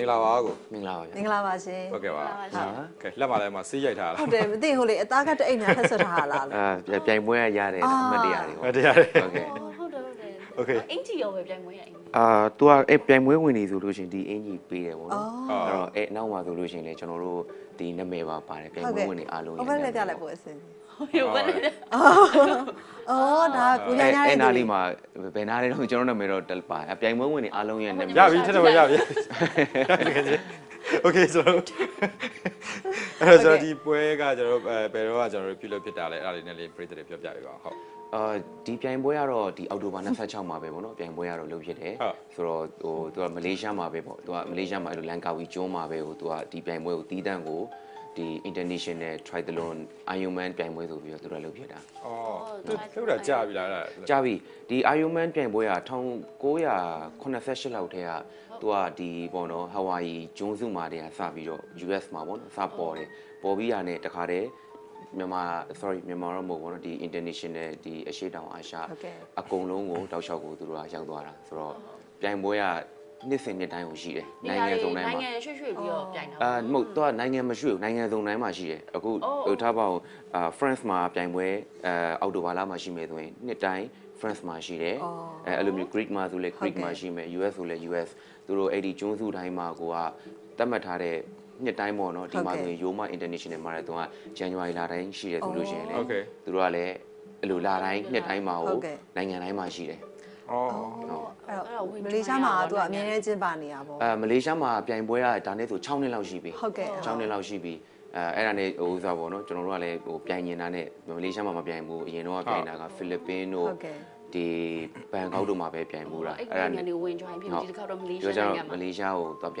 နေလာပါကို မင်္ဂလာပါဗျာ မင်္ဂလာပါရှင် ဟုတ်ကဲ့ပါ ဟုတ်ပါပါရှင် ကဲလက်မလည်းမစီးရိုက်ထားလား ဟုတ်တယ်မသိဟိုတ်လေအသားကတအိတ်နဲ့ဖက်ဆွတ်ထားတာလားလို့ အာပြိုင်ပွဲကရတယ် အာ အမှတ်တရတွေ ဟု ပေါ့ တ်တယ်ရတယ် ဟုတ်ကဲ့ ဟုတ်တယ်ဟုတ်တယ် Okay. အင်ဂျီရောပဲပြိုင်မွေးရအင်ဂျီ အာ तू ကအဲ့ပြိုင်ပွဲဝင်နေဆိုလို့ရှရင်ဒီအင်ကြီးပေးတယ်ပေါ့ အော် နော် အော် အဲ့တော့အဲ့အနောက်မှာဆိုလို့ရှရင်လေကျွန်တော်တို့ဒီနာမည်ပါပါတယ်ပြိုင်ပွဲဝင်နေအားလုံး ဟုတ်ဘယ်လက်ကလည်းပို့အစင် ဟုတ်ရောပဲလေ အော်ဒါကကိုညာညာ အဲ့ ရဲ့ အဲ့နားလေးမှာဘယ်နားလဲတော့ကျွန်တော်နာမည်တော့တက်ပါအဲ့ပြိုင်ပွဲဝင်နေအားလုံးရဲ့နာမည် ရပြီထက်တော့ရပြီโอเคဆိုတော့အဲ့တော့ကျွန်တော်ဒီပွဲကကျွန်တော်တို့အဲဘယ်တော့ကကျွန်တော်တို့ပြုလုပ်ဖြစ်တာလဲအဲ့ဒါလေးနဲ့လေးပြည်သက်တွေပြောပြပေးပါအောင်ဟုတ် အာဒီပြိုင်ပွဲကတော့ဒီအောက်တိုဘာ26မှာပဲပေါ့နော်ပြိုင်ပွဲကတော့လုပ်ဖြစ်တယ် ဟုတ် ဆိုတော့ဟို तू ကမလေးရှားမှာပဲပေါ့ तू ကမလေးရှားမှာအဲ့လိုလန်ကာဝီကျွန်းမှာပဲဟို तू ကဒီပြိုင်ပွဲကိုတီးတန့်ကိုဒီ international triathlon ironman ပြိုင်ပွဲဆိုပြီးတော့ तू တို့ကလုပ်ဖြစ်တာ အော်သူသူတာကြာပြီလားအဲ့ဒါ ကြာပြီဒီ Ironman ပြိုင်ပွဲက1988လောက်ထဲကသူကဒီပေါ့နော်ဟာဝိုင်ဂျွန်းစုမှာတည်းကစပြီးတော့ US မှာပေါ့နော်စပေါ်တယ်ပေါ်ပြီးရတဲ့တခါတည်းမြန်မာ sorry မြန်မာတော့မဟုတ်ဘူးပေါ့နော်ဒီ international ဒီအရှေ့တောင်အာရှ ဟုတ်ကဲ့ အကုန်လုံးကိုတောက်လျှောက်ကိုသူတို့ကရောက်သွားတာဆိုတော့ပြိုင်ပွဲကနှစ်စဉ်နှစ်တိုင်းကိုရှိတယ်နိုင်ငံစုံတိုင်း နို မှာ င်ငံရွှေ့ရွှေ့ပြီးတော့ပြိုင်တာ အာမဟုတ်တော့နိုင်ငံမရှိဘူးနိုင်ငံစုံတိုင်းမှာရှိတယ်အခု အိုး ဟိုထားပါအောင်အာ France မှာပြိုင်ပွဲအာအောက်တိုဘာလမှာရှိမယ်ဆိုရင်နှစ်တိုင်း France မှာရှိတယ် အော် အဲအဲ့လိုမျိုး Greek မှာဆိုလဲ ဟုတ် Greek ကဲ့ မှာရှိမယ် US ဆိုလဲ US သူတို့အဲ့ဒီကျွန်းစုတိုင်းမှာကိုကသတ်မှတ်ထားတဲ့နှစ်တိုင်းပေါ့နော်ဒီမှာဆိုရင် Yoma International Marathon ကဇန်နဝါရီလတိုင်းရှိတယ်ဆိုလို့ရှိရင်လေ โอเค သူတို့ကလည်းအဲ့လိုလာတိုင်းနှစ်တိုင်းမှာ ဟု ကို တ်ကဲ့ နိုင်ငံတိုင်းမှာရှိတယ် အော် အဲ့တော့မလေးရှားမှာကသူကအမြဲတမ်းကျင်းပနေတာပေါ့ အာမလေးရှားမှာပြိုင်ပွဲကဒါနဲ့ဆို6နှစ်လောက်ရှိပြီ ဟုတ်ကဲ့ ကျောင်းနေလောက်ရှိပြီအဲအဲ့ဒါနဲ့ဟိုဥစားပေါ့နော်ကျွန်တော်တို့ကလည်းဟိုပြိုင်နေတာနဲ့မလေးရှားမှာမပြိုင်ဘူးအရင်တော့ကပြိုင်တာကဖိလစ်ပင်းတို့ ဟုတ်ကဲ့ ဒီဘန်ကောက်တို့မှာပဲပြိုင်ဘူးတာ အဲ့ အဲ့ ဒါ ဒါ နိုင်ငံ နဲ့ တွေဝင် join ဖြစ်ပြီးဒီတစ်ခါတော့မလေး ပြော ရှား ကြ နို တော့ င်င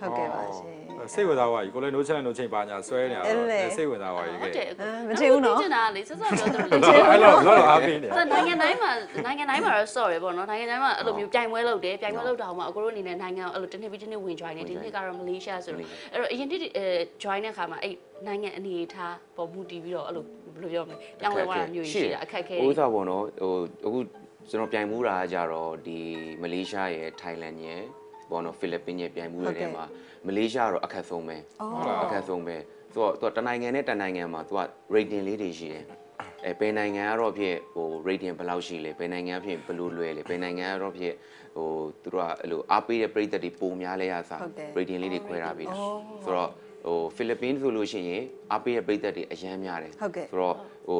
မလေးံမှာရှားကိုသွားပြိုင်ဖြစ်တာ ဟုတ်ကဲ့ပါရှင် စိတ်ဝင်စားပါကြီးကိုလည်း no channel no chain ပါညာဆွဲနေတာ အဲ့လေ စိတ်ဝင်စားပါကြီး ဟု ကဲ တ်တယ် အဲမထင်ဘူးနော် မထင်တာလေစစောပြောတယ်လေ အဲ့တော့လောလောအားပေးနေ ဒါနိုင်ငံတိုင်းမှာနိုင်ငံတိုင်းမှာတော့ sorry ပေါ့နော်နိုင်ငံတိုင်းမှာအဲ့လိုမျိုးပြိုင်ပွဲလုပ်တယ်ပြိုင်ပွဲလုပ်တာဟိုမှာအကိုတို့အနေနဲ့နိုင်ငံကိုအဲ့လိုတစ်နှစ်ပြီးတစ်နှစ်ဝင် join နေဒီနှစ်ကတော့မလေးရှားဆိုတော့အဲ့တော့အရင်တစ်အဲ join တဲ့အခါမှာအဲ့နိုင်ငံအနေအထားပေါ်မူတည်ပြီးတော့အဲ့လိုဘယ်လိုပြောမလဲပြောင်းလဲသွားတာမျိုးကြီးရှိတာအခက်အခဲ ဥ တွေ စားပေါ့နော်ဟိုအခုကျွန်တော်ပြိုင်မှုတာကကြတော့ဒီမလေးရှားရယ်ထိုင်းလန်ရယ်ပေါ့နော်ဖိလစ်ပင်းရယ်ပြိုင်မှုတွေထဲမှာမလေးရှားကတော့အခက်ဆုံးပဲ အော် အခက်ဆုံးပဲသူကသူကတနိုင်ငံနဲ့တနိုင်ငံမှာသူက rating လေးတွေရှိတယ်အဲဘယ်နိုင်ငံကတော့ဖြစ်ဟို rating ဘယ်လောက်ရှိလဲဘယ်နိုင်ငံကဖြစ်ဘယ်လိုလွယ်လဲဘယ်နိုင်ငံကတော့ဖြစ်ဟိုသူတို့ကအဲ့လိုအားပေးတဲ့ပြည်သက်တွေပုံများလဲရစား ဟုတ်တယ် rating လေးတွေခွဲထားပြီးတာ အော် ဆိုတော့ဟိုဖိလစ်ပင်းဆိုလို့ရှိရင်အားပေးတဲ့ပြည်သက်တွေအများများတယ် ဟုတ်ကဲ့ ဆိုတော့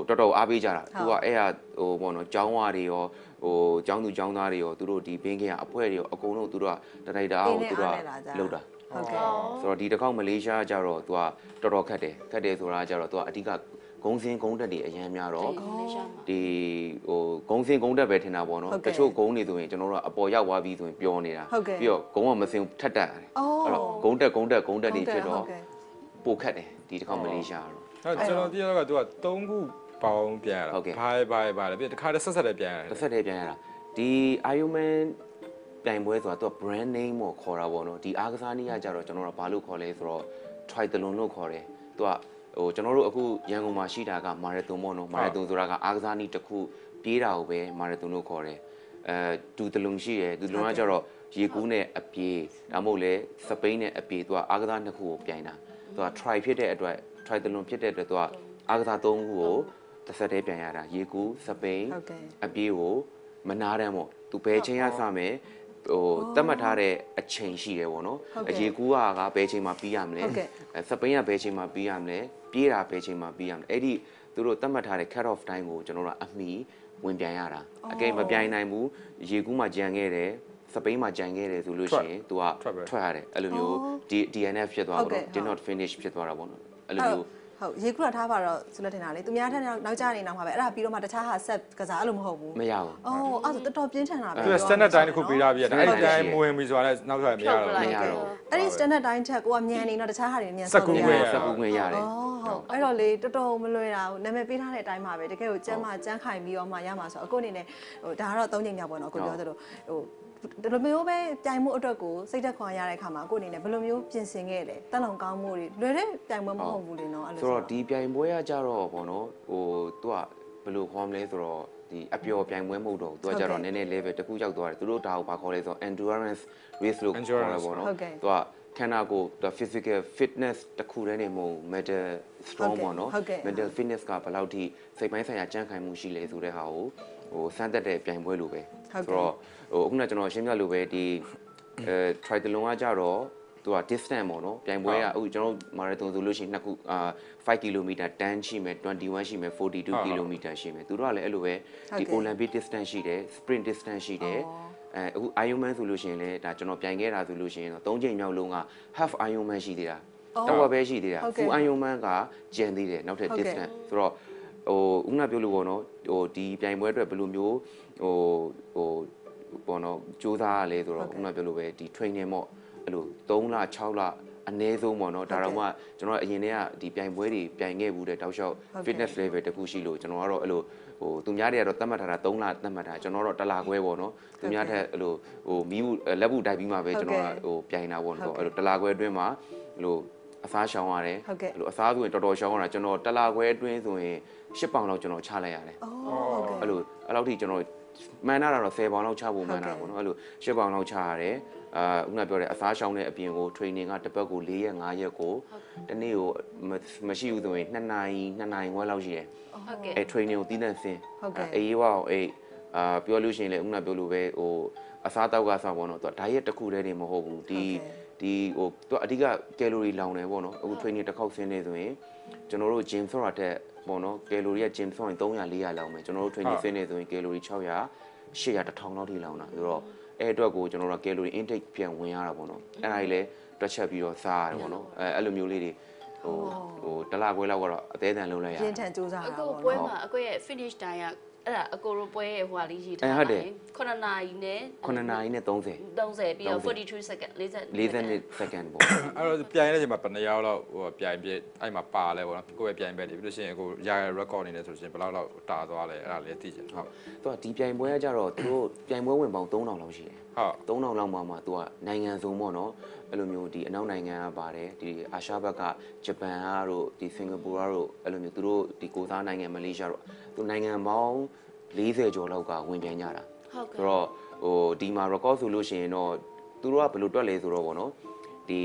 ဟိုတော်တော်အားပေးကြတာ ဟုတ် သူကအဲ့ဟာဟိုဘောနော်ចောင်းဝါတွေရောဟိုចောင်းသူចောင်းသားတွေရောသူတို့ဒီဘင်းကရအဖွဲတွေရောအကုန်လုံးသူတို့ကတရိုက်တာကိုသူတို့ကလောက်တာ ဟုဆိုတ်ကဲ့တော့ဒီတစ်ခေါက်မလေးရှားကြတော့ तू ကတော်တော်ခက်တယ်ခက်တယ်ဆိုတာကြတော့ तू ကအဓိကဂုံစင်ဂုံတက်တွေအရန်များ ဟု တော့ တ်ကဲ့ရှာမှာ ဒီဟိုဂုံစင်ဂုံတက်ပဲထင်တာပေါ့နော် ဟုတ်ကဲ့ တချို့ဂုံတွေဆိုရင်ကျွန်တော်တို့ကအပေါ်ရောက်သွားပြီဆိုရင်ပျော်နေတာ ဟုတ်ကဲ့ ပြီးတော့ဂုံကမစင်ဘူးထက်တက်ရတယ် အော် အဲ့တော့ဂုံတက်ဂုံတက်ဂုံတက်တွေဖြစ်တော့ပိုခက်တယ်ဒီတစ်ခေါက်မလေးရှားတော့ ဟုတ်ကျွန်တော်တည့်ရတော့ကသူက3ခုပေါင်းပြန်ရတာဘာဘာဘာလေပြတခါတည်းဆက်ဆက်တည်းပြန်ရ တ တာ စ်ဆက်တည်းပြန်ရတာဒီ Ironman ပြိုင်ပွဲဆိုတာသူက brand name ကိုခေါ်တာပေါ့နော်ဒီအားကစားနည်းကကြတော့ကျွန်တော်တို့ကဘာလို့ခေါ်လဲဆိုတော့ triathlon လို့ခေါ်တယ်သူကဟိုကျွန်တော်တို့အခုရန်ကုန်မှာရှိတာက marathon ပေါ့နော် marathon ဆိုတာကအားကစားနည်းတစ်ခုပြေးတာကိုပဲ marathon လို့ခေါ်တယ်အဲဒူတလုံရှိတယ်ဒူတလုံကကြတော့ရေကူးနဲ့အပြေးဒါမှမဟုတ်လဲစပိန်နဲ့အပြေးသူကအားကစားနှစ်ခုကိုပြိုင်တာသူက try ဖြစ်တဲ့အတွက် triathlon ဖြစ်တဲ့အတွက်သူကအားကစားသုံးခုကိုတစ်ဆက်တည်းပြန်ရတာရေကူးစပိန် ဟုတ်ကဲ့ အပြေးကိုမနာတမ်းပေါ့သူဘယ်ချိန်ရစမယ်ဟိုတတ်မှတ်ထားတဲ့အချိန်ရှိတယ်ပေါ့နော် ဟုတ်ကဲ့ အရေကူးကကဘယ်ချိန်မှာပြီးရမလဲ ဟုတ်ကဲ့ အဲစပိန်ကဘယ်ချိန်မှာပြီးရမလဲပြေးတာဘယ်ချိန်မှာပြီးရမလဲအဲ့ဒီသူတို့တတ်မှတ်ထားတဲ့ cut off time ကိုကျွန်တော်တို့ကအမီဝင်ပြန်ရတာအကယ်မပြိုင်နိုင်ဘူးရေကူးမှာကြံခဲ့တယ်စပိန်မှာကြံခဲ့တယ်ဆိုလို့ရှိရင် तू က ထွက်ပဲ ထွက်ရတယ်အဲ့လိုမျိုးဒီ DNF ဖြစ်သွား ဟု တော့ တ်ကဲ့ တော့ did not ဟုတ် finish ဖြစ်သွားတာပေါ့နော်အဲ့လို အဲ့ မျိုး ဟုတ်ရေကူလာထားပါတော့ဆိုလက်ထင်တာလေသူများထက်နောက်ကြနေနောက်မှာပဲအဲ့ဒါပြီးတော့မှတခြားဟာဆက်ကစားအဲ့လိုမဟုတ်ဘူး မရဘူး အော်အဲ့ဒါတော်တော်ပြင်းထန်တာပဲ သူက standard တိုင်းတစ်ခုပေးထားပြီးရတယ်အဲ့ဒီတိုင်းမဝင်ပြီဆိုတာလည်းနောက်ထပ်မရတော့ မ ဘူး ရတော့ အဲ့ဒီ standard တိုင်းချက်ကိုကမြန်နေတော့တခြားဟာတွေမြန် စကူခွင့် ရ ဘူးစအောပူခွင့်ရတယ် င်ဟုတ်အဲ့တော့လေတော်တော်မလွယ်တာဘူးနာမည်ပေးထားတဲ့အတိုင်းပါပဲတကယ်ကိုကျမ်းမာကျန်းခိုင်ပြီးတော့မှရမှာဆိုတော့အခုအနေနဲ့ဟိုဒါကတော့သုံးချိန်မြောက်ပေါ့နော်အခုပြောသလိုဟိုဒီလိုမျိုးပဲပြိုင်မှုအတွက်ကိုစိတ်သက်ခွန်ရတဲ့အခါမှာအခုအနေနဲ့ဘယ်လိုမျိုးပြင်ဆင်ခဲ့လဲတက်လုံကောင်းမှုတွေလွယ်တဲ့ပြိုင်ပွဲမဟုတ်ဘူးလေနော်အဲ့လို ဆိုတော့ဒီပြိုင်ပွဲကကြတော့ဗောနော်ဟိုသူကဘယ်လိုခေါ်မလဲဆိုတော့ ဒီအပျော်ပြိုင်ပွဲမဟုတ်တော့ဘူးသူကကြတော့နည်းနည်း level တစ်ခုရောက်သွားတယ်သူတို့ဒါကိုဘာခေါ်လဲဆိုတော့ endurance race လို့ခေါ်ရ Endurance ပါတော့ ဟုတ်ကဲ့ သူကခန္ဓာကိုယ်သူက physical fitness တစ်ခုတည်းနဲ့မဟုတ်ဘူး mental strong ပေါ့နော် ဟုတ်ကဲ့ mental fitness ကဘယ်လောက်ထိစိတ်ပိုင်းဆိုင်ရာကြံ့ခိုင်မှုရှိလဲဆိုတဲ့ဟာကိုဟိုစမ်းသက်တဲ့ပြိုင်ပွဲလိုပဲ ဟုတ်ကဲ့ ဆိုတော့ဟိုအခုနကကျွန်တော်ရှင်းပြလိုပဲဒီအဲ triathlon ကကြတော့သူက distance ပေါ့နော်ပြိုင်ပွဲကအခုကျွန်တော်မာရသွန်ဆိုလို့ရှိရင်နှစ်ခုအာ5 km 10ရှိမယ်21ရှိမယ် ဟုတ် 42 ဟုတ် km ရှိမယ်သူတို့ကလည်းအဲ့လိုပဲဒီ ဟုတ်ကဲ့ Olympic distance ရှိတယ် sprint distance ရှိတယ် အော် အဲအခု Ironman ဆိုလို့ရှိရင်လည်းဒါကျွန်တော်ပြိုင်ခဲ့တာဆိုလို့ရှိရင်တော့၃ချိန်မြောက်လုံးက half Ironman ရှိသေးတာ အော် တော့ပဲရှိသေးတာ ဟုတ်ကဲ့ full iron man ကကျန်သေးတယ်နောက်ထပ် ဟုတ်ကဲ့ distance ဆိုတော့ဟိုဦးနာပြောလို့ပေါ့နော်ဟိုဒီပြိုင်ပွဲအတွက်ဘယ်လိုမျိုးဟိုဟိုပေါ့နော်စူးစမ်းရလဲဆို ဟုတ် တော့ ကဲ့ ဦးနာပြောလို့ပဲဒီ training ပေါ့အဲ့လို3လ6လအနည်းဆုံးပေါ့နော်ဒါတော့မှကျွန်တော်အရင်တည်းကဒီပြိုင်ပွဲတွေပြိုင်ခဲ့ဘူးတဲ့တောက်လျှောက် ဟုတ်ကဲ့ fitness level တခုရှိလို့ကျွန်တော်ကတော့အဲ့လိုဟိုသူများတွေကတော့သတ်မှတ်ထားတာ3လသတ်မှတ်ထားကျွန်တော်ကတော့တစ်လခွဲပေါ့နော်သူများထက်အဲ့လိုဟိုမီးဘူးလက်ဘူးတိုက်ပြီးမှပဲ ဟုတ် ကျွန် ကဲ့ တော်ကဟိုပြိုင်တာပေါ့ ဟုတ် နော် ကဲ့ အဲ့လို တလာခွဲအတွင်းမှာဒီလိုအစားရှောင်ရတယ် ဟုတ်ကဲ့ ဒီလိုအစားဆိုရင်တော်တော်ရှောင်ရတာကျွန်တော်တလာခွဲအတွင်းဆိုရင်10ပေါင်လောက်ကျွန်တော်ချလိုက်ရတယ် အော်ဟုတ်ကဲ့ အဲ့လိုအဲ့လောက်ထိကျွန်တော်မှန်တာတော့10ပေါင်လောက်ချဖို့မှန်တာပေါ့နော်အဲ့လို10ပေါင်လောက်ချရတယ်အာခုနပြောတဲ့အစားရှောင်တဲ့အပြင်ကို training ကတစ်ပတ်ကို4ရက်5ရက်ကိုတစ်နေ့ကိုမမရှိဘူးဆိုရင်2နာရီ2နာရီခွဲလောက်ရှိတယ် ဟုတ်ကဲ့ အဲ training ကိုတီးတန့်ဆင်း ဟုတ်ကဲ့ အဲအေးဝါကိုအဲအာပြောလို့ရှိရင်လည်းဥက္ကနာပြောလို့ပဲဟိုအစားအသောက်ကစားပေါ့နော်သူက diet တစ်ခုတည်းနေမဟုတ်ဘူးဒီဒီဟိုသူကအဓိက calorie လောင်တယ်ပေါ့နော်အခု training တစ်ခေါက်ဆင်းနေဆိုရင်ကျွန်တော်တို့ gym ဆိုတာတက်ပေါ့နော် calorie က gym ဆိုရင်300 400လောင်မယ်ကျွန်တော်တို့ training ဆင်းနေဆိုရင် calorie 600 800 1000လောက်ထိလောင်တာဆိုတော့အဲအတွက်ကိုကျွန်တော်တို့က calorie intake ပြန်ဝင်ရတာပေါ့နော်အဲ့ဒါကြီးလည်းတွက်ချက်ပြီးတော့စားရတယ်ပေါ့နော်အဲအဲ့လိုမျိုးလေးတွေဟိုဟိုတစ်လခွဲလောက်ကတော့အသေးအံလုံးလိုက်ရ ပြ တာ င်းထန်စူးစမ်း အ တာ ကို ပေါ့ ပွဲ နော် မှာအကိုရဲ့ finish time ကအဲ့ဒါအကိုရောပွဲရဲ့ဟိုဟာလေးရေး အဲ ထား ဟုတ်တယ် 9နာရီနဲ့ 9နာရီနဲ့30 30ပြီးတော့ 30 42 second 40 40 second ပေါ့ အဲ့တော့ပြိုင်ရတဲ့အချိန်မှာဘယ်နှစ်ယောက်လောက်ဟိုပြိုင်ပြစ်အဲ့မှာပါလဲပေါ့နော်ကိုယ့်ရဲ့ပြိုင်ပဲလေပြီးလို့ရှိရင်ကိုရရ record နေလဲဆိုလို့ရှိရင်ဘယ်လောက်လောက်တာသွားလဲအဲ့ဒါလည်းသိချင်တယ်ဟုတ် သူကဒီပြိုင်ပွဲကကြတော့သူတို့ပြိုင်ပွဲဝင်ပေါင်း3000လောက်ရှိတယ် ဟုတ် 3000လောက်မှာမှသူကနိုင်ငံစုံပေါ့နော်အဲ့လိုမျိုးဒီအနောက်နိုင်ငံကပါတယ်ဒီအာရှဘက်ကဂျပန်ကတို့ဒီစင်ကာပူကတို့အဲ့လိုမျိုးသူတို့ဒီကိုစားနိုင်ငံမလေးရှားတို့သူနိုင်ငံပေါင်း40ကျော်လောက်ကဝင်ပြိုင်ကြတာ ဟုတ်ကဲ့ ဆိုတော့ဟိုဒီမှာ record ဆိုလို့ရှိရင်တော့သူတို့ကဘယ်လိုတွက်လဲဆိုတော့ဗောနော်ဒီ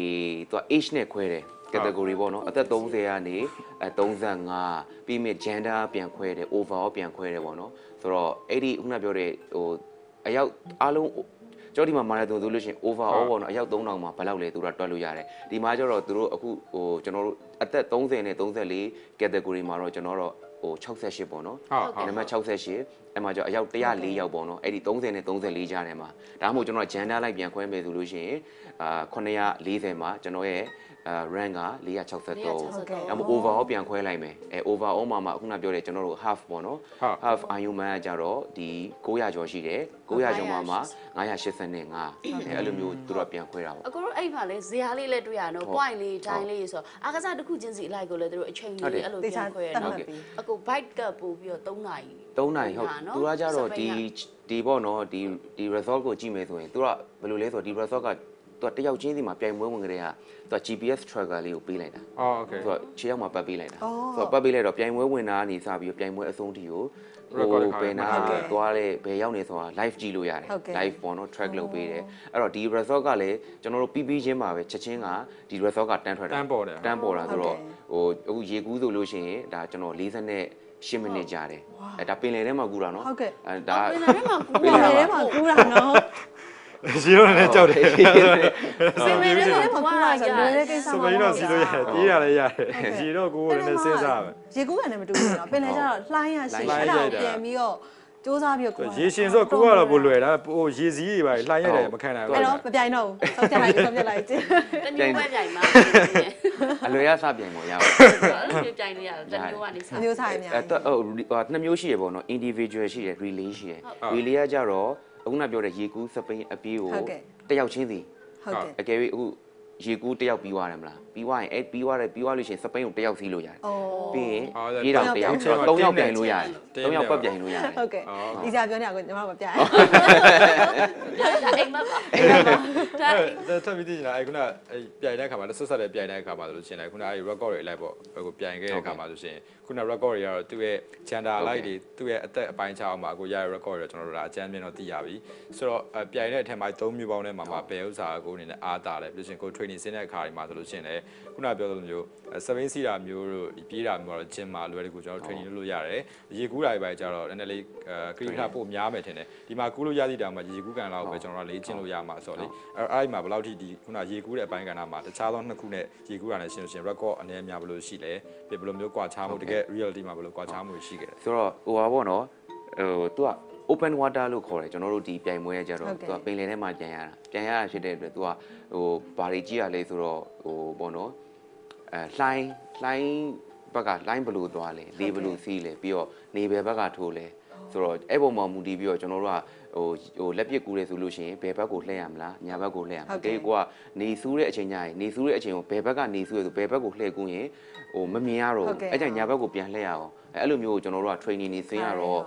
သူက age နဲ့ခွဲတယ် category ပေါ့နော်အသက်30ကနေအဲ35ပြီးမြင့် gender ပြန်ခွဲတယ် overall ပြန်ခွဲတယ်ဗောနော်ဆိုတော့အဲ့ဒီခုနပြောတဲ့ဟိုအယောက်အားလုံးကျော်ဒီမှာမာရသွန်ဆိုလို့ရှိရင် overall ပေါ့နော်အယောက်3000မှာဘယ်လောက်လဲသူတို့ကတွက်လို့ရတယ်ဒီမှာကျတော့သူတို့အခုဟိုကျွန်တော်တို့အသက်30နဲ့34 category မှာတော့ကျွန်တော်တို့ဟို68ပေါ့နော် ဟုတ်ဟုတ် နံပါတ်68အဲ့မှာကျတော့အယောက်104ယောက်ပေါ့နော်အဲ့ဒီ30နဲ့34ကြားထဲမှာဒါမှမဟုတ်ကျွန်တော်ကဂျန်ဒါလိုက်ပြန်ခွဲမယ်ဆိုလို့ရှိရင်အာ940မှာကျွန်တော်ရဲ့အာ rank က463ဒါ ဟုတ်ကဲ့ မှမဟုတ် overall ပြန်ခွဲလိုက်မယ်အဲ overall မှာမှအခုနပြောတဲ့ကျွန်တော်တို့ half ပေါ့နော် ဟုတ် half ironman ကကျတော့ဒီ900ကျော်ရှိတယ်900ကျော်မှာမှ985အဲအဲ့လိုမျိုးသူတို့ကပြန်ခွဲတာပေါ့ အကိုတို့အဲ့မှာလဲဇရာလေးလည်းတွေ့ရနော် ဟုတ် point လေး time လေးဆိုတော့အာကစားတစ်ခုချင်းစီအလိုက်ကိုလည်းတို့အချိန် ဟုတ်တယ် လေးအဲ့လို တေချာ ပြန်ခွဲရ တတ် နော် မှတ်ပြီး အကို bike ကပို့ပြီးတော့3နာရီ 3နိုင်ဟုတ် ဟုတ်ပါသူနော်ကကြတော့ဒီ စပိန် ဒီပေါ့နော်ဒီဒီ result ကိုကြည့်မယ်ဆိုရင်သူကဘယ်လိုလဲဆိုတော့ဒီ result ကသူကတယောက်ချင်းစီမှာပြိုင်ပွဲဝင်ကြတဲ့ဟာသူက GPS tracker လေးကိုပေးလိုက်တာ အော်โอเค သူကခြေရောက်မှာပတ်ပေးလိုက်တာသူအော်ကပတ်ပေးလိုက်တော့ပြိုင်ပွဲဝင်တာကနေစပြီးတော့ပြိုင်ပွဲအဆုံးထိကို record ဘယ်နာ ထားတယ် သွားလဲဘယ်ရောက်နေဆိုတာ live ကြည့်လို့ရတယ် ဟုတ်ကဲ့ live ပေါ့နော် track လုပ်ပေးတယ်အဲ့တော့ဒီ result ကလည်းကျွန်တော်တို့ပြီးပြီးချင်းမှာပဲချက်ချင်းကဒီ result ကတန်းထွက်တာ တန်းပေါ်တယ် တန်းပေါ်တာဆို ဟုတ်ကဲ့ တော့ဟိုအခုရေကူးဆိုလို့ရှိရင်ဒါကျွန်တော်40နဲ့10မိနစ်ကြာတယ်အဲဒါပင်လယ်ထဲမှာကူတာနော် ဟုတ်ကဲ့ အဲ ဒါ ဒါ ပင်လယ်ထဲမှာကူး ပင် ပ တာ င် လ လ ယ် ယ် ထဲ ထဲ မှာ မှာကူးတာနော် ရေတော့လည်းကြောက်တယ် ဟုတ်ကဲ့ ပင်လယ်ထဲမှာကူး ကူး တာ တာ ဆို ဆိုတော့လွယ်တော့လွယ်တဲ့တဲ့ကိ ကိစ္စစ္စဆို မ ပြီး ဟုတ် တော့စီဘူးလို့ရတယ်တီးရလည်းရတဟုတ်ယ်ရေတော့ကိုယ်ကိုယ်လည်းနည်းနည်းစဉ်းစားမယ် ရေကူးရတယ်မတူဘူးနော်ပင်လယ်ကျတော့လှိုင်းရရှိ လှိုင်း အဲ့ ရို ဒါ က် ကို တာ ပြန်ပြီးတော့စူးစမ်းပြီးတော့ကူး ရေရှင်ဆိုကိုကတော့ဘို့လွယ်တာဟိုရေစည်းတွေပါလှိုင်းရတယ်မခံနိုင်ဘူး အဲ့တော့မပြိုင်တော့ဘူးဆုံးဖြတ်လိုက်ဆုံးဖြတ်လိုက်ကျင်း တနည်းပဲပြိုင်မှာ အလွယ်ရစပြန်ပေါ့ရပါ အဲ့လိုမျိုးပြိုင် လို့ရတယ်တမျိုးကနေစ အမျိုးဆိုင်အများ အဲ ကြီး တော့ဟိုဟာနှစ်မျိုးရှိရပေါ့နော် individual ရှိတယ် relay ရှိတယ် relay ကကြတော့အခုနပြောတဲ့ရေကူးစပိန်အပြေးကို ဟုတ်ကဲ့ တစ်ယောက်ချင်းစီ ဟုတ်တယ် အကယ်၍အခုရေကူးတစ်ယောက်ပြီးသွားတယ်မလားပြီးသွားရင်အဲပြီးသွားတယ်ပြီးသွားလို့ရှိရင်စပိန်ကိုတစ်ယောက်စီးလို့ရတယ် အော် ပြီးရင်ရေးတော့တစ်ယောက်ဆိုတော့၃ယောက်ပြိုင်လို့ရတယ်၃ယောက်ပတ်ပြိုင်လို့ရတယ် ဟုတ်ကဲ့ဒီစာပြောနေတာကိုညီမမပြိုင် ဒါအိမ်မက်ပါဒါ လား အဲ့ထပ်ပြီးသိချင်တာအဲ့ခုနအဲ့ပြိုင်တဲ့ခါမှာလက်ဆက်ဆက်လည်းပြိုင်တဲ့ခါမှာဆိုလို့ရှိရင်အဲ့ခုနအဲ့ record တွေလိုက်ပေါ့အခုပြိုင်ခဲ့တဲ့ခါမှာဆိုရှင်ခုန record တွေကတော့သူ့ရဲ့ channel light တွေသူ့ရဲ့အသက်အပိုင်းခြားအောင်မှာအခုရရ record တွေတော့ကျွန်တော်တို့ဒါအချမ်းမြင်တော့သိရပြီဆိုတော့အဲ့ပြိုင်တဲ့အထက်မှာ၃မျိုးပေါင်းထဲမှာမှာဘယ်ဥစ္စာကိုအနေနဲ့အားတာလဲပြီးလို့ရှိရင်ကို training ဆင်းတဲ့အခါတွေမှာဆိုလို့ရှိရင်လည်းခုနပြောသလိုမျိုးစပိန်စီတာမျိုးတို့ဒီပြေးတာမျိုးတော့ gym မှာလွယ်တကူကျွန်တော်တို့ training လုပ်လို့ရတယ်ရေကူးတာတွေပဲကြတော့နည်းနည်းလေးအဲခရီးခါပို့များမယ်ထင်တယ်ဒီမှာကူးလို့ရသည့်တောင်မှရေကူးကန်လောက်ပဲကျွန်တော်တို့လေ့ကျင့်လို့ရမှာဆိုတော့လေ အဲ့အဲ့ဒီမှာဘယ်လောက်ထိဒီခုနရေကူးတဲ့အပိုင်းကဏ္ဍမှာတခြားသောနှစ်ခုနဲ့ရေကူးတာနဲ့ရှင်းလို့ရှရင် record အနေအများဘယ်လိုရှိလဲပြီးဘယ်လိုမျိုးကွာခြားမှုတကယ် reality မှာဘယ်လိုကွာခြားမှုတွေရှိခဲ့လဲ ဆိုတော့ဟိုပါပေါ့နော်ဟို तू က open water လို့ခေါ်တယ်ကျွန်တော်တို့ဒီပြိုင်ပွဲရကြတော့ ဟုတ်ကဲ့ तू ကပင်လယ်ထဲမှာပြန်ရတာပြန်ရတာဖြစ်တဲ့အတွက် तू ကဟိုဘာတွေကြည့်ရလဲဆိုတော့ဟိုပေါ့နော်အဲလှိုင်းလှိုင်းဘက်ကလှိုင်းဘယ်လို့သွားလဲလေဘယ်လို့စီးလဲပြီးတော့နေဘယ်ဘက်ကထိုးလဲဆိုတော့အဲ့ပုံမှာမူတည်ပြီးတော့ကျွန်တော်တို့ကဟိုဟိုလက်ပစ်ကူးတယ်ဆိုလို့ရှိရင်ဘယ်ဘက်ကိုလှည့်ရမလားညာဘက်ကိုလှည့်ရမ ဟု လား တ်ကဲ့ ဒီကိုကနေဆူးတဲ့အချိန်ညရင်နေဆူးတဲ့အချိန်ကိုဘယ်ဘက်ကနေဆူးရဆိုဘယ်ဘက်ကိုလှည့်ကူးရင်ဟိုမမြင်ရတော့ ဟုတ်ကဲ့ ဘူးအဲ့ကြင့်ညာဘက်ကိုပြန်လှည့်ရအောင်အဲ့လိုမျိုးကိုကျွန်တော်တို့က training နေ ရတော့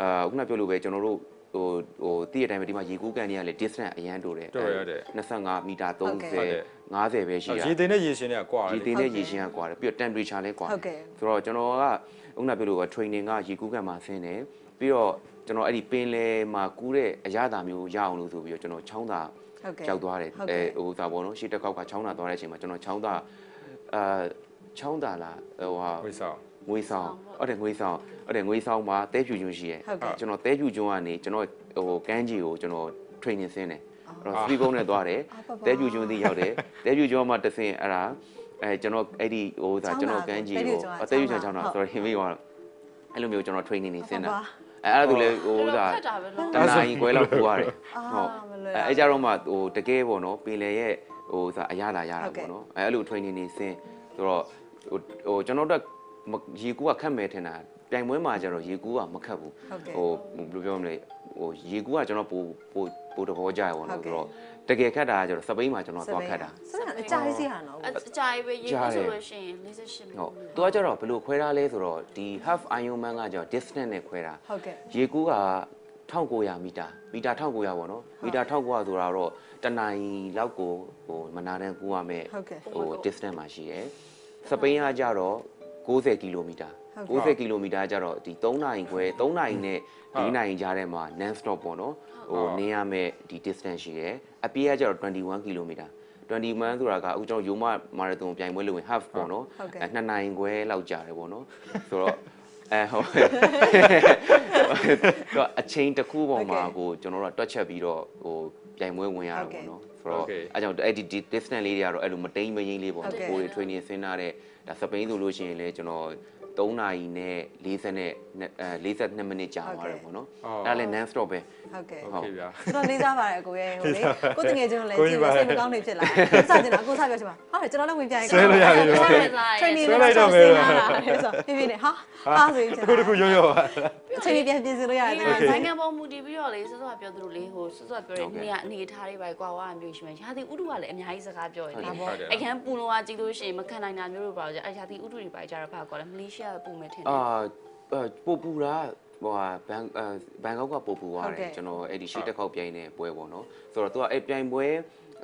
အာခုနပြောလို့ပဲကျွန်တော်တို့ဟိုဟိုတည့်ရတိုင်းပဲဒီမှာရေကူးကန်တွေကလေ distance အရန်တိုးတယ် တိုးရတယ် 25မီတာ30 ဟုတ်ကဲ့ 50ပဲရှိရ ရေတင်နဲ့ရေရှင်တွေကကွာ ရေ တယ် သ လေ င်းနဲ့ရေရှင်းကကွာတယ်ပြီးတော့ temperature လည်းကွာ ဟုတ်ကဲ့ ဆိုတော့ကျွန်တော်ကခုနပြောလို့ပဲ training ကရေကူးကန်မှာဆင်းတယ်ပြီးတော့ကျွန်တော်အဲ့ဒီပင်လယ်မှာကူးတဲ့အရသာမျိုးရအောင်လို့ဆိုပြီးတော့ကျွန်တော်ချောင်းသာ ဟုတ်ကဲ့ ကြောက်သွားတယ် ဟုတ်ကဲ့ အဲဟိုသာပေါ့နော်ရှေ့တစ်ခေါက်ကချောင်းသာသွားတဲ့အချိန်မှာကျွန်တော်ချောင်းသာအာချောင်းသာလားဟိုဟာ ဝိဆောင် ငွေဆောင်ဟုတ်တယ်ငွေဆောင်ဟုတ်တယ်ငွေဆောင်မှာတဲဖြူကျွန်းရှိရဲ ဟုတ်ကဲ့ ကျွန်တော်တဲဖြူကျွန်းကနေကျွန်တော်ဟိုကန်းကြီးကိုကျွန်တော် training ဆင်းတယ်အဲ့ အော် တော့ free bone နဲ့သွားတယ် အော်ပါပါ တဲဖြူကျွန်းသိရောက်တယ်တဲဖြူကျွန်းမှာတစ်ဆင့်အဲ့ဒါအဲကျွန်တော်အဲ့ဒီဟိုဒါကျွန်တော်ကန်းကြီးကိုအော်တဲဖြူကျွန်းချောင်းတာ sorry မိသွားတော့အဲ့လိုမျိုးကျွန်တော် training နေဆင်းတာအဲအဲ့ဒါသူလေဟိုဒါ ခက်တာပဲနော် တနာကြီးခွဲလောက်ပူရတယ် အာမလွယ် အဲအဲ့ကြတော့မှဟိုတကယ်ပေါ့နော်ပင်လယ်ရဲ့ဟိုဆိုတာအရသာရတာပေါ့နော်အဲအဲ့လို training နေဆင်းဆိုတော့ဟိုဟိုကျွန်တော်တို့ကမရေကူးကခက်မယ်ထင်တာပြိုင်ပွဲမှာကျတော့ရေကူးကမခက်ဘူး ဟုတ်ဟိုဘယ်လိုပြောကဲ့မလဲဟိုရေကူးကကျွန်တော်ပိုပိုပိုတဘောကြရပေါ့ ဟုတ် နော် ကဲ့ ဆိုတော့တကယ်ခက်တာကကျတော့စပိန်မှာကျွန်တော်သွားခက်တာ ဆက်ရအကြိုက်စီဟာနော် အအကြိုက်ပဲရေးဖို့ဆိုလို့ရှိရင်48မိနစ် ဟုတ် ပဲ သူကကျတော့ဘယ်လိုခွဲထားလဲဆိုတော့ဒီ half ironman ကကျတော့ distance နဲ့ခွဲတာ ဟုတ်ကဲ့ ရေကူးက1900မီတာမီတာ1900ပေါ့နော်မီတာ1900ဆိုတာတော့တနင်္လာလောက်ကိုဟိုမနာတန်ကူရမယ် ဟုတ်ကဲ့ ဟို distance မှာရှိတယ်စပိန်ကကျတော့60ကီလိုမီတာ ဟုတ်ကဲ့ 60ကီလိုမီတာကကျတော့ဒီ3နိုင်ခွဲ3နိုင်နဲ့4နိုင်ကြားထဲမှာ non stop ပေါ့နော်ဟို ဟုတ် နေရမယ်ဒီ distance ရှိတယ်အပြေးကကျတော့21ကီလိုမီတာ21ဆိုတာကအခုကျွန်တော်ယိုမမာရသွန်ပြိုင်ပွဲလုပ်ရင် half ပေါ့နော် ဟုတ်ကဲ့ အဲနှစ်နိုင်ခွဲလောက်ကြာတယ်ပေါ့နော် ဆိုတော့ အဲဟုတ် တော့အချိန်တစ်ခုပေါ်မှာ ဟုတ်ကဲ့ ကိုကျွန်တော်တို့ကတွက်ချက်ပြီးတော့ဟိုပြိုင်ပွဲဝင်ရတာ ဟုတ်ကဲ့ ပေါ့နော်ဆိုတော့ Okay. အဲကြောင့်အဲ့ဒီဒီ distance လေးတွေကတော့အဲ့လိုမတိမ်မရင်းလေးပေါ့ ဟုတ် နော် ကဲ့ ကိုယ်တွေ training ဆင်းထားတဲ့ဒါစပိန်ဆိုလို့ရှိရင်လည်းကျွန်တော်3နာရီနဲ့40နဲ့အဲ42မိနစ်ကြာသွားတယ်ပေါ့နော် ဟုတ်ကဲ့ အဲ့ဒါလည်း non stop ပဲ ဟုတ်ကဲ့ โอ ဟုတ် เคဗျာ ကျွန်တော်လေးစားပါတယ်အကိုရဲ့ဟိုလေကိုတငယ်ချင်းကိုလည်း ကို ကြ ကြီး ည့် ပါ လို့စိတ်မကောင်းနေဖြစ်လာတယ်စတင်တာအကိုစားပြောချင်ပါဟုတ်တယ်ကျွန်တော်လည်းဝင်ပြရင် ဆွဲလို့ရပြီ ဆွဲလိုက်လား training ဆွဲ နဲ့ လို တော့ က်တော့ ဆောင်း မယ် စင်းလာတာတယ်ဆိုတော့ပြခုင်းပြင်းနဲ့ဟာဟာဆိုရင်ကျွန်တော် တစ်ခုရောရောပါ အချိန်ကြီးပြန်ပြင်ဆင်လို့ရတယ် ဒီ ကျွန်တော် နိုင်ငံပေါ်မူတည်ပြီးတော့လေစောစောကပြောသလိုလေဟိုစောစောကပြောတဲ့နေရအနေအထားတွေပဲကွာဝါမျိုးရှိမယ်ရာသီဥတုကလည်းအများကြီးစကားပြောရတယ် ဟုတ်ပါဘူး အရန်ပူလောကကြည့်လို့ရှိရင်မခံနိုင်တာမျိုးတွေပါလို့ကြာအဲရာသီဥတုတွေပါကြတော့ဘာကောလဲမလေးရှားကပူမယ်ထင်တယ် အာအာပိုပူတာဟိုဟာဘန်အာဘန်ကောက်ကပိုပူရ ဟုတ် တ ကဲ့ ယ်ကျွန်တော်အဲ့ဒီရှေ့တစ်ခေါက်ပြိုင်တဲ့ပွဲပေါ့နော်ဆိုတော့ तू ကအဲ့ပြိုင်ပွဲ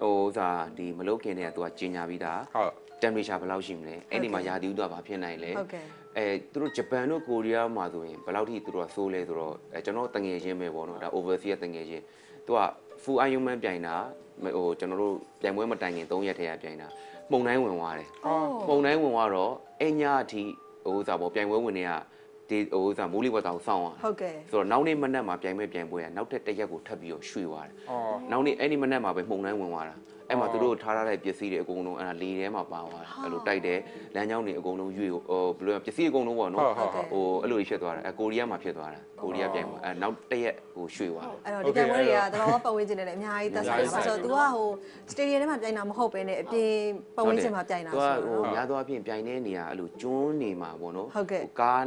ဟိုဥစားဒီမလုတ်ခင်တည်းက तू ကကျင်ညာပြီးသား ဟုတ် temperature ဘယ်လောက်ရှိမလဲအဲ့ဒီမှာ ဟုတ်ကဲ့ ရာသီဥတုကဘာဖြစ်နိုင်လဲ ဟုတ်ကဲ့ အဲသူတို့ဂျပန်တို့ကိုရီးယားမှာဆိုရင်ဘယ်လောက်ထိသူတို့ကဆိုးလဲဆိုတော့အဲကျွန်တော်တငယ်ချင်းပဲပေါ့နော်ဒါ overseas ကတငယ်ချင်း तू က full ironman ပြိုင်တာမဟိုကျွန်တော်တို့ပြိုင်ပွဲမတိုင်ခင်3ရက်ထဲကပြိုင်တာမှုန်တိုင်းဝင်သွားတယ် ပုံတိုင်းဝင်သွားတော့အညာအထိဟိုဥစ္စားပေါ့ပြိုင်ပွဲဝင်တွေကဒီဟိုဥစ္စားမိုးလေဝသအောင်စောင့်ရ ဟုတ်ကဲ့ ဆိုတော့နောက်နေ့မနက်မှာပြိုင်ပွဲပြိုင်ပွဲကနောက်ထပ်တစ်ရက်ကိုထပ်ပြီးတော့ရွှေ့သွားတယ် အော် နောက်နေ့အဲ့ဒီမနက်မှာပဲမှုန်တိုင်းဝင်သွားတာအဲ့မှာ အော် သူတို့ထားထားတဲ့ပစ္စည်းတွေအကုန်လုံးအဲ့ဒါလေထဲမှာပါသွားတာအဲ့လိုတိုက်တယ်လမ်းကြောင်းတွေအကုန်လုံးရွေ့ဟိုဘယ်လိုလဲပစ္စည်းအကုန်လုံးပေါ့ ဟုတ် နော် ဟုတ်ဟုတ် ဟိုအဲ့လိုတွေဖြစ်သွားတာအဲ့ကိုရီးယားမှာဖြစ်သွားတာကိုရီးယားပြိုင်ပွဲအဲ့နောက်တစ်ရက်ဟိုရွှေ့သွားတယ် အဲ့တော့ဒီကံပွဲတွေကသတော်ပတ်ဝန်းကျင်နဲ့လည်းအများကြီးသက်ဆိုင်တာပါဆိုတော့ तू ကဟိုစတေဒီယံထဲမှာပြိုင်တာမဟုတ်ဘဲနဲ့အပြင်ပတ်ဝန်းကျင်မှာပြိုင်တာ သူကဆိုတော့ ဟိုများသောအားဖြင့်ပြိုင်တဲ့နေရာအဲ့လိုကျွန်းနေမှာပေါ့နော် ဟုတ်ကဲ့ ကား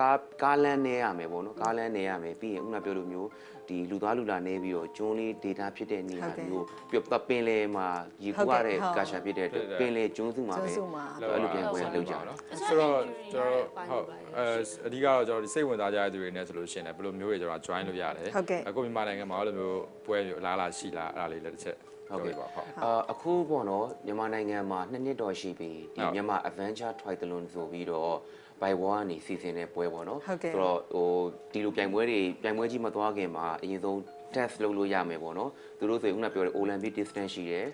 ကားကားလမ်းနေရမယ်ပေါ့နော်ကားလမ်းနေရမယ်ပြီးရင်ခုနပြောလိုမျိုးဒီလူသားလူလာနေပြီးတော့ကျွန်းလေး data ဖြစ်တဲ့နေရာ ဟုတ်တယ် မျိုးပြတ်ပင်လေမှာရေကူရတဲ့ ဟုတ်တယ်ဟုတ် ကာရှာဖြစ်တဲ့အတွက် ဟုတ်တယ် ပင်လေကျွန်းစုမှာ ကျွ ပဲ န်းစုမှာ အဲ့လိုပြန်ပွဲလုပ်ကြတာ ဆိုတော့ကျွန်တော်ဟုတ်အဲအဓိကတော့ကျွန်တော်ဒီစိတ်ဝင်စားကြတဲ့သူတွေနဲ့ဆိုလို့ရှိရင်လည်းဘယ်လိုမျိုးတွေကျွန်တော် join လုပ်ရတယ် ဟုတ်ကဲ့ အခုမြန်မာနိုင်ငံမှာဘယ်လိုမျိုးပွဲမျိုးအလားအလာရှိလားအဲ့ဒါလေးလည်းတစ်ချက်ပြောပြပါဟုတ် အာအခုပေါ့နော်မြန်မာနိုင်ငံမှာနှစ်နှစ်တော်ရှိပြီ ဟု ဒီ တ် မြန်မာ Adventure Triathlon ဆိုပြီးတော့ by one ကနေစီစဉ်တဲ့ပွဲပေါ့နော် ဟုတ်ကဲ့ တော့ဟိုဒီလိုပြိုင်ပွဲတွေပြိုင်ပွဲကြီးမသွားခင်မှာအရင်ဆုံး test လုပ်လို့ရမယ်ပေါ့နော်သူတို့ဆိုရင်ခုနပြောတဲ့ Olympic distance ရှိတယ်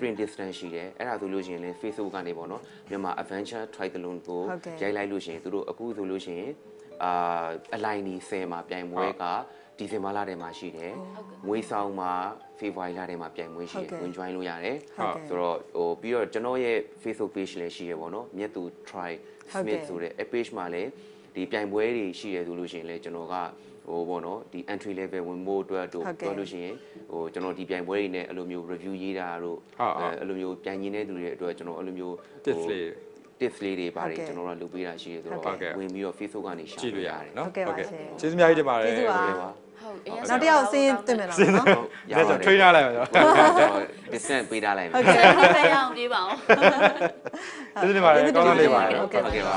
ဟု sprint တ်ကဲ့ distance ရှိတယ်အဲ့ဒါဆိုလို့ရှိရင်လည်း Facebook ကနေပေါ့နော်မြန်မာ Adventure Triathlon ကို ဟုတ်ကဲ့ ရိုက်လိုက်လို့ရှိရင်သူတို့အခုဆိုလို့ရှိရင်အာအလိုင်းဒီ10မှာပြိုင်ပွဲကဒီဇင်ဘာလထဲမှာရှိတယ်ငွေဆောင်မှာဖေဖော်ဝါရီလထဲမှာပြိုင်ပွဲရှိတယ် ဟုတ်ဝင်ကဲ့ join လို့ရတယ် ဟုတ်ကဲ့ ဆိုတော့ဟိုပြီးတော့ကျွန်တော်ရဲ့ Facebook page လည်းရှိရပါတော့မြတ်သူ try ဟုတ်ကဲ့ smith ဆိုတဲ့ app page မှာလည်းဒီပြိုင်ပွဲတွေရှိရဆိုလို့ရှိရင်လည်းကျွန်တော်ကဟိုပေါ့နော်ဒီ entry level ဝင်ဖို့အတွက်တို့ ဟုတ်ကဲ့ ပြောလို့ရှိရင်ဟိုကျွန်တော်ဒီပြိုင်ပွဲတွေနဲ့အဲ့လိုမျိုး review ရေးတာတို့ ဟုတ်ဟုတ် အဲ့လိုမျိုးပြိုင်ကျင်တဲ့သူတွေအတွက်ကျွန်တော်အဲ့လိုမျိုးဟို tips လေး tips လေးတွေပါတ ဟု ယ် တ်ကဲ့ ကျွန်တော်ကလုပ်ပေးတာရှိရဆိုတော့ ဟုတ်ကဲ့ ဝင်ပြီးတော့ Facebook ကနေရှာ ကြည့်လို့ရတယ် နော် နော် ဟုတ်ကဲ့ပါရှင် ကျေးဇူးအများကြီးတင်ပါတယ် ကျေးဇူးပါ ဟု ဟုတ်တ် ကဲ့ ကဲ့ပါနောက်တစ်ဟုတ်အရင်ယောက်စင်းတင်မယ်တော့နော် ဒါကြောင့် trainer လိုက်ပါတော့ ကျွန်တော် distance ပေးထားလိုက်မယ် ဆက်ပြီးတော့ရအောင်ပြေးပါအောင် ကျေးဇူးတင်ပါတယ် ကျေးဇူး ကောင်း တတာင်တ လေး ယ် ပါတယ် ဟုတ်ကဲ့ပါ